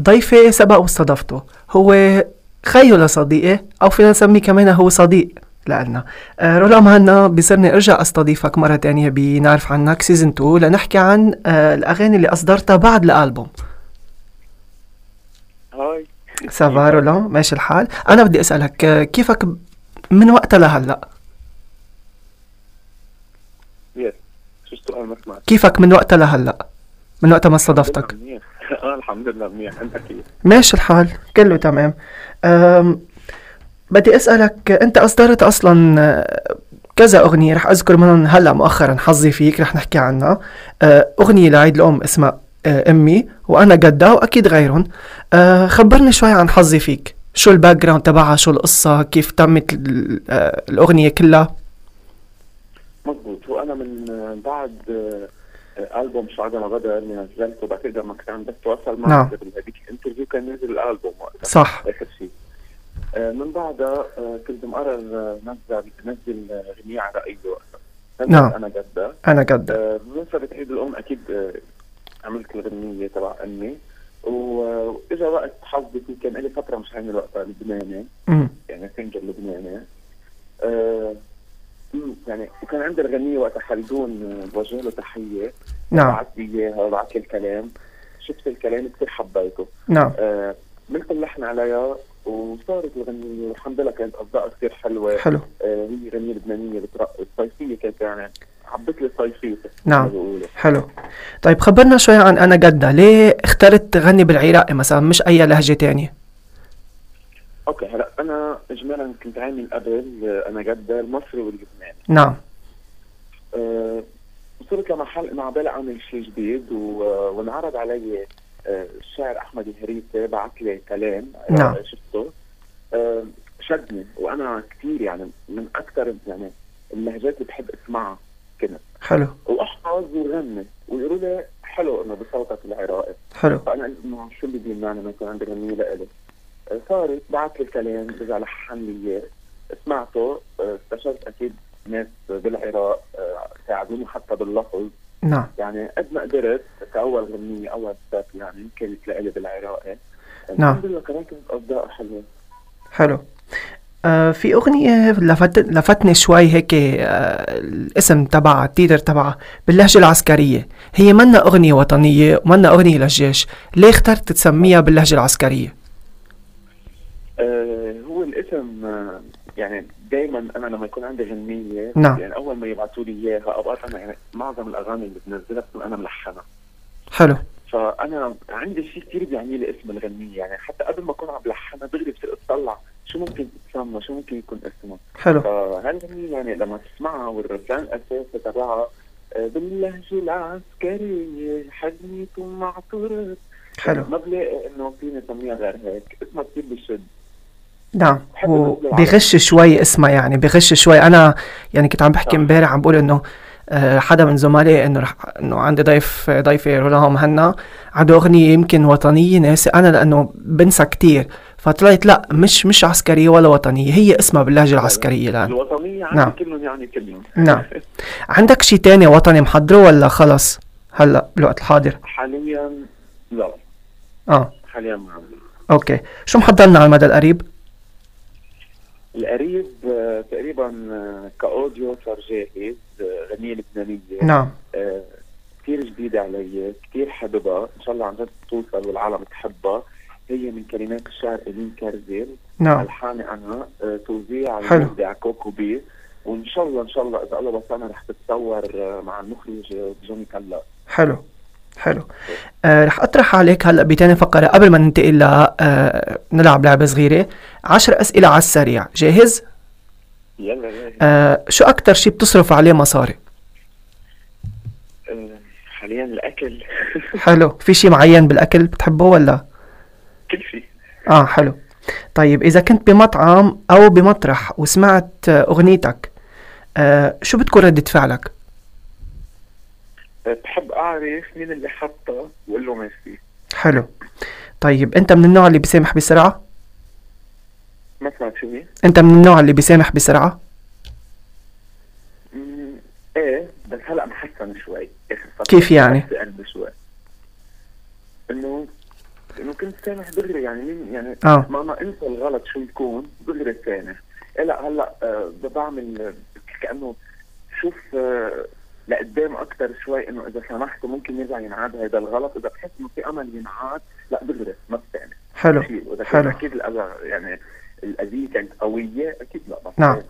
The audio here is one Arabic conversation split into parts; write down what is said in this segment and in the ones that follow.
ضيفي سبق واستضفته هو خيه لصديقي او فينا نسميه كمان هو صديق لألنا آه، رولا مهنا بصرني ارجع استضيفك مرة تانية بنعرف عنك سيزون 2 لنحكي عن آه، الأغاني اللي أصدرتها بعد الألبوم هاي سافا رولا ماشي الحال أنا بدي أسألك آه، كيفك ب- من وقتها لهلأ يس شو السؤال ما سمعت كيفك من وقتها لهلأ من وقتها ما استضفتك منيح اه الحمد لله منيح انت كيف ماشي الحال كله تمام أم بدي أسألك أنت أصدرت أصلا أه، كذا أغنية رح أذكر منهم هلا مؤخرا حظي فيك رح نحكي عنها أه، أغنية لعيد الأم اسمها أه، أمي وأنا قدها وأكيد غيرهم أه، خبرني شوي عن حظي فيك شو الباك جراوند تبعها شو القصة كيف تمت ال- أه، الأغنية كلها مضبوط وانا من آه، بعد آه، آه، البوم شعر ما بدر اللي نزلته بعتقد لما كان بس تواصل نعم. معك قبل هذيك الانترفيو كان نزل الالبوم وقتها صح اخر شيء آه، من بعدها آه، كنت مقرر آه، نزل نزل آه، اغنيه على رأيي وقتها نزلت نعم. انا قدها أنا قدها آه، بمناسبة عيد الأم أكيد آه، عملت الغنية تبع أمي آه، وإجا وقت حظي فيه كان لي فترة مش عامل وقتها لبناني أمم، يعني سنجر لبناني آه، مم، يعني وكان عندي الغنية وقتها خلدون آه، بوجه له تحية نعم بعث لي إياها بعث لي الكلام شفت الكلام كثير حبيته نعم آه، عملت اللحن عليها وصارت الغنية والحمد لله كانت أصداء كثير حلوة حلو آه، هي غنية لبنانية بترقص صيفية كانت يعني عبت لي الصيفية نعم. بقوله. حلو طيب خبرنا شوي عن انا قدها ليه اخترت تغني بالعراقي مثلا مش اي لهجه تانية اوكي هلا انا اجمالا كنت عامل قبل آه، انا جدة المصري واللبناني نعم أه وصلت لمحل انه عبالي اعمل شيء جديد و... آه، وانعرض علي أه الشاعر احمد الهريسي بعث لي كلام آه، نعم. شفته أه شدني وانا كثير يعني من اكثر يعني اللهجات اللي بحب اسمعها كنت حلو واحفظ وغني ويقولوا لي حلو انه بصوتك العراقي حلو فانا قلت انه شو اللي بيمنعني انه يكون عندي غنيه لإلي آه، صارت بعت لي الكلام رجع لحن لي إياه. سمعته آه، استشرت اكيد ناس بالعراق آه، ساعدوني حتى باللفظ نعم يعني قد ما قدرت كاول غنيه اول ستاب يعني كانت لإلي بالعراقي نعم. الحمد لله كمان كانت اصداء حلوه حلو آه في أغنية لفت لفتني شوي هيك آه الاسم تبعها التيتر تبعها باللهجة العسكرية هي منا أغنية وطنية ومنا أغنية للجيش ليه اخترت تسميها باللهجة العسكرية آه، هو الاسم آه، يعني دائما انا لما يكون عندي غنيه نعم. يعني اول ما يبعثوا لي اياها اوقات انا يعني معظم الاغاني اللي بنزلها بكون انا ملحنها حلو فانا عندي شيء كثير بيعني لي اسم الغنيه يعني حتى قبل ما اكون عم بلحنها دغري بصير اتطلع شو ممكن تتسمى شو ممكن يكون اسمها حلو فهالغنيه يعني لما تسمعها والرسام الاساسي تبعها آه، باللهجه العسكريه حجمت ومعطرت حلو ما بلاقي انه فيني اسميها غير هيك اسمها كثير بشد نعم بحب الأغنية العربية. وبغش شوي اسمها يعني بغش شوي انا يعني كنت عم بحكي نعم. امبارح عم بقول انه آه، حدا من زملائي انه رح انه عندي ضيف ضيفي رولا مهنا عنده اغنيه يمكن وطنيه ناسي انا لانه بنسى كتير فطلعت لا مش مش عسكريه ولا وطنيه هي اسمها باللهجه العسكريه الان الوطنيه عندي نعم. كلهم يعني كلهم نعم عندك شي تاني وطني محضره ولا خلص هلا بالوقت الحاضر حاليا لا اه حاليا ما عندي اوكي شو محضرنا على المدى القريب القريب آه، تقريبا آه، كاوديو صار جاهز آه، غنيه لبنانيه نعم آه، كتير جديدة علي كتير حاببها إن شاء الله عن جد توصل والعالم تحبها هي من كلمات الشاعر إلين كرزيل نعم ألحاني أنا آه، توزيع على حلو. المبدع كوكو بي وإن شاء الله إن شاء الله إذا الله بس أنا رح تتصور آه، مع المخرج آه، جوني كلا حلو حلو آه رح اطرح عليك هلا بتاني فقره قبل ما ننتقل ل آه نلعب لعبه صغيره عشر اسئله على السريع جاهز يلا يلا. آه شو اكثر شيء بتصرف عليه مصاري آه، حاليا الأكل حلو في شيء معين بالاكل بتحبه ولا كل شيء اه حلو طيب اذا كنت بمطعم او بمطرح وسمعت آه، اغنيتك آه شو بتكون ردة فعلك آه، بحب أعرف مين اللي حطها وأقول له ميرسي حلو طيب انت من النوع اللي بيسامح بسرعه ما سمعت شو هي؟ انت من النوع اللي بيسامح بسرعه مم، ايه بس هلا إيه، محسن شوي اخر فتره كيف يعني؟ بس قلبي شوي انه انه كنت سامح دغري يعني مين يعني اه ماما انسى الغلط شو يكون دغري سامح لا هلا آه، بعمل آه، كانه شوف آه، لقدام اكثر شوي انه اذا سمحت ممكن يرجع ينعاد هذا الغلط اذا بحس انه في امل ينعاد لا دغري ما بسامح حلو بشيل واذا كان حلو. اكيد الاذى يعني الاذيه كانت قويه اكيد لا بسامح. نعم.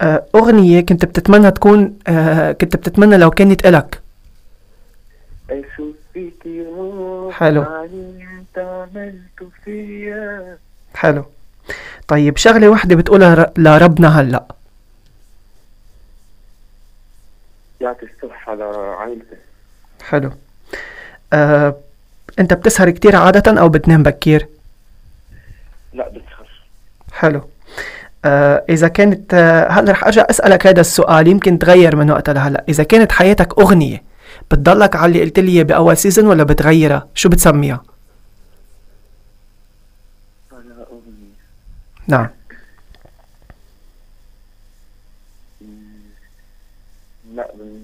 آه، أغنية كنت بتتمنى تكون آه، كنت بتتمنى لو كانت إلك اشوف فيكي روح حلو. علي انت عملت فيا حلو طيب شغلة وحدة بتقولها ر- لربنا هلأ يعطي الصحه لعائلتي حلو آه، أنت بتسهر كتير عادة أو بتنام بكير لا بتخاف حلو آه، إذا كانت آه، هلا رح أرجع أسألك هذا السؤال يمكن تغير من وقتها لهلا إذا كانت حياتك أغنية بتضلك على اللي قلت لي إياه بأول سيزون ولا بتغيرها شو بتسميها انا اغنيه نعم لا بن-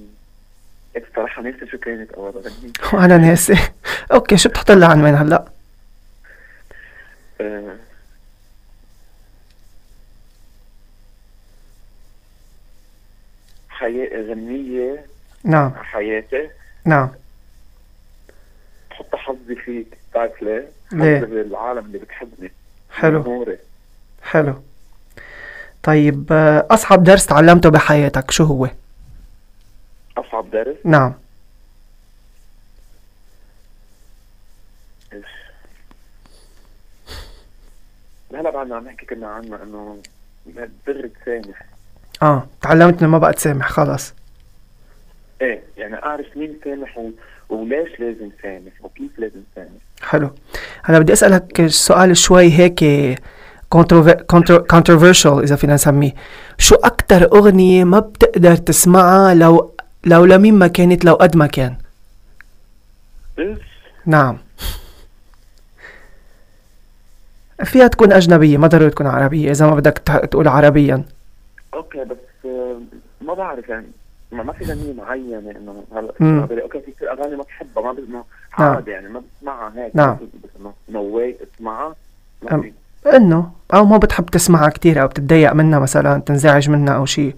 الصراحة نفسي شو كانت أول أغنية وأنا ناسي أوكي شو بتحط لها عنوان هلأ آه، حياة غنية نعم حياتي نعم بحط حظي فيك بتعرف ليه؟ ليه؟ حظي بالعالم اللي بتحبني حلو جمهوري. حلو طيب آه، أصعب درس تعلمته بحياتك شو هو؟ أصعب درس نعم هلا بعدنا عم نحكي كنا عنه إنه دغري تسامح آه تعلمت إنه ما بقى تسامح خلص إيه يعني أعرف مين سامح و- وليش لازم سامح وكيف لازم سامح حلو هلا بدي أسألك سؤال شوي هيك controver- contro- controversial إذا فينا نسميه شو أكتر أغنية ما بتقدر تسمعها لو لو لمين ما كانت لو قد ما كان بس نعم فيها تكون أجنبية ما ضروري تكون عربية إذا ما بدك تح- تقول عربيا اوكي بس آه، ما بعرف يعني ما, ما في غنية معينة انه مم. هلا أقدر- اوكي في كثير اغاني ما بحبها ما بسمع نعم. عادي يعني ما بسمعها هيك نعم. بس إنه نويت اسمعها ما أم. في. انه او ما بتحب تسمعها كتير او بتتضايق منها مثلا تنزعج منها او شيء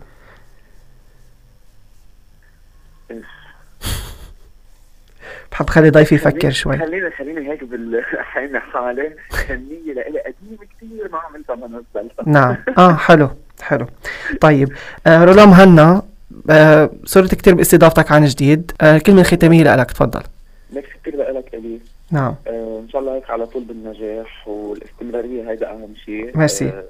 بحب خلي ضيفي يفكر خليني- شوي خليني خليني هيك بالحين حالي غنية لإلي قديمة كثير ما عملتها ما نزلتها نعم اه حلو حلو طيب آه رولا مهنا آه صرت كتير باستضافتك عن جديد آه كلمة ختامية لك تفضل ميرسي كثير لإلك الي نعم آه، ان شاء الله هيك على طول بالنجاح والاستمرارية هيدا اهم شيء ميرسي. آه،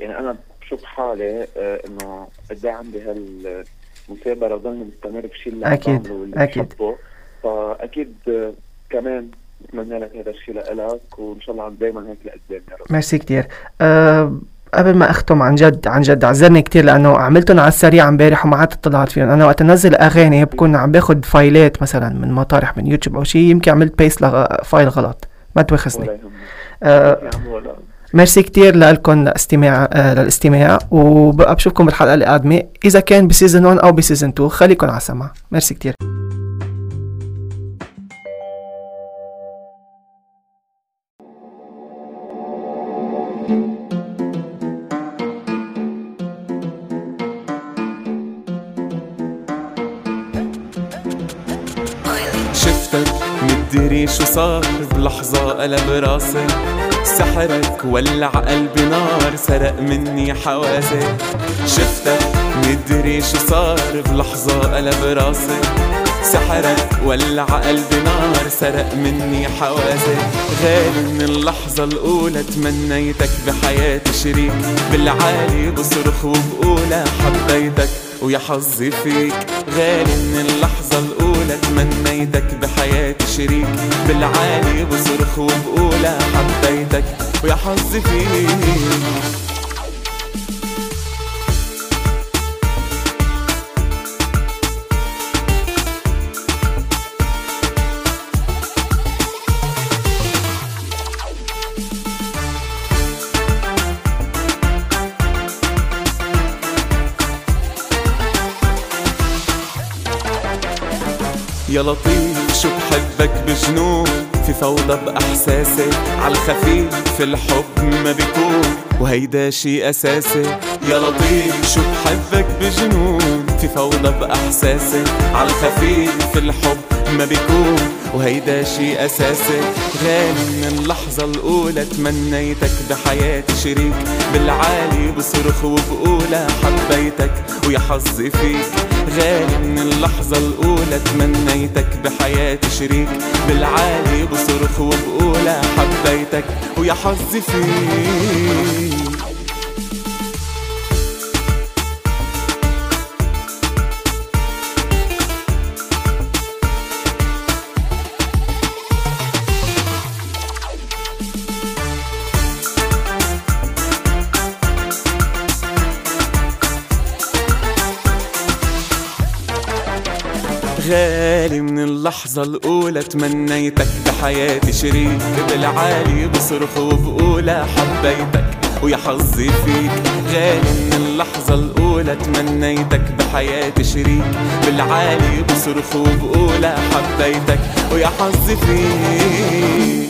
يعني انا بشوف حالي آه، انه قد ايه عندي هالمثابرة ضلني مستمر بشيء اللي عم أكيد، بعمله واللي أكيد. بحبه. فاكيد آه، كمان بتمنى لك هذا الشيء لإلك وان شاء الله عم دايما هيك لقدام يا رب ميرسي كتير آه قبل ما اختم عن جد عن جد اعذرني كتير لانه عملتهم على السريع امبارح وما عدت طلعت فيهم انا وقت انزل اغاني بكون عم باخد فايلات مثلا من مطارح من يوتيوب او شيء يمكن عملت بيست لفايل غلط ما ولا تواخذني يهمك آه يا عم ولا ميرسي كتير لكم لاستماع آه، للاستماع وبقى بشوفكم بالحلقه القادمه اذا كان بسيزون 1 او بسيزون 2 خليكم على السماع ميرسي كتير شفتك مدري شو صار بلحظة قلب راسي سحرك ولع قلبي نار سرق مني حواسي شفتك مدري شو صار بلحظة قلب راسي سحرك ولع قلبي نار سرق مني حواسي غالي من اللحظة الأولى تمنيتك بحياتي شريك بالعالي بصرخ وبقولها حبيتك ويا حظي فيك غالي من اللحظة الأولى تمنيتك بحياتي شريك بالعالي بصرخ وبقولها حبيتك ويا حظي فيك يا لطيف شو بحبك بجنون في فوضى بإحساسي عالخفيف الحب ما بيكون وهيدا شي أساسي يا لطيف شو بحبك بجنون في فوضى بإحساسي عالخفيف الحب ما بيكون وهيدا شي أساسي غالي من اللحظة الأولى تمنيتك بحياتي شريك بالعالي بصرخ وبقولها حبيتك ويا حظي فيك غالي من اللحظة الأولى تمنيتك بحياتي شريك بالعالي بصرخ وبقولها حبيتك ويا حظي فيك غالي من اللحظة الأولى تمنيتك بحياتي شريك بالعالي بصرخ وبقولها حبيتك ويا حظي فيك غالي من اللحظة الأولى تمنيتك بحياتي شريك بالعالي بصرخ وبقولها حبيتك ويا حظي فيك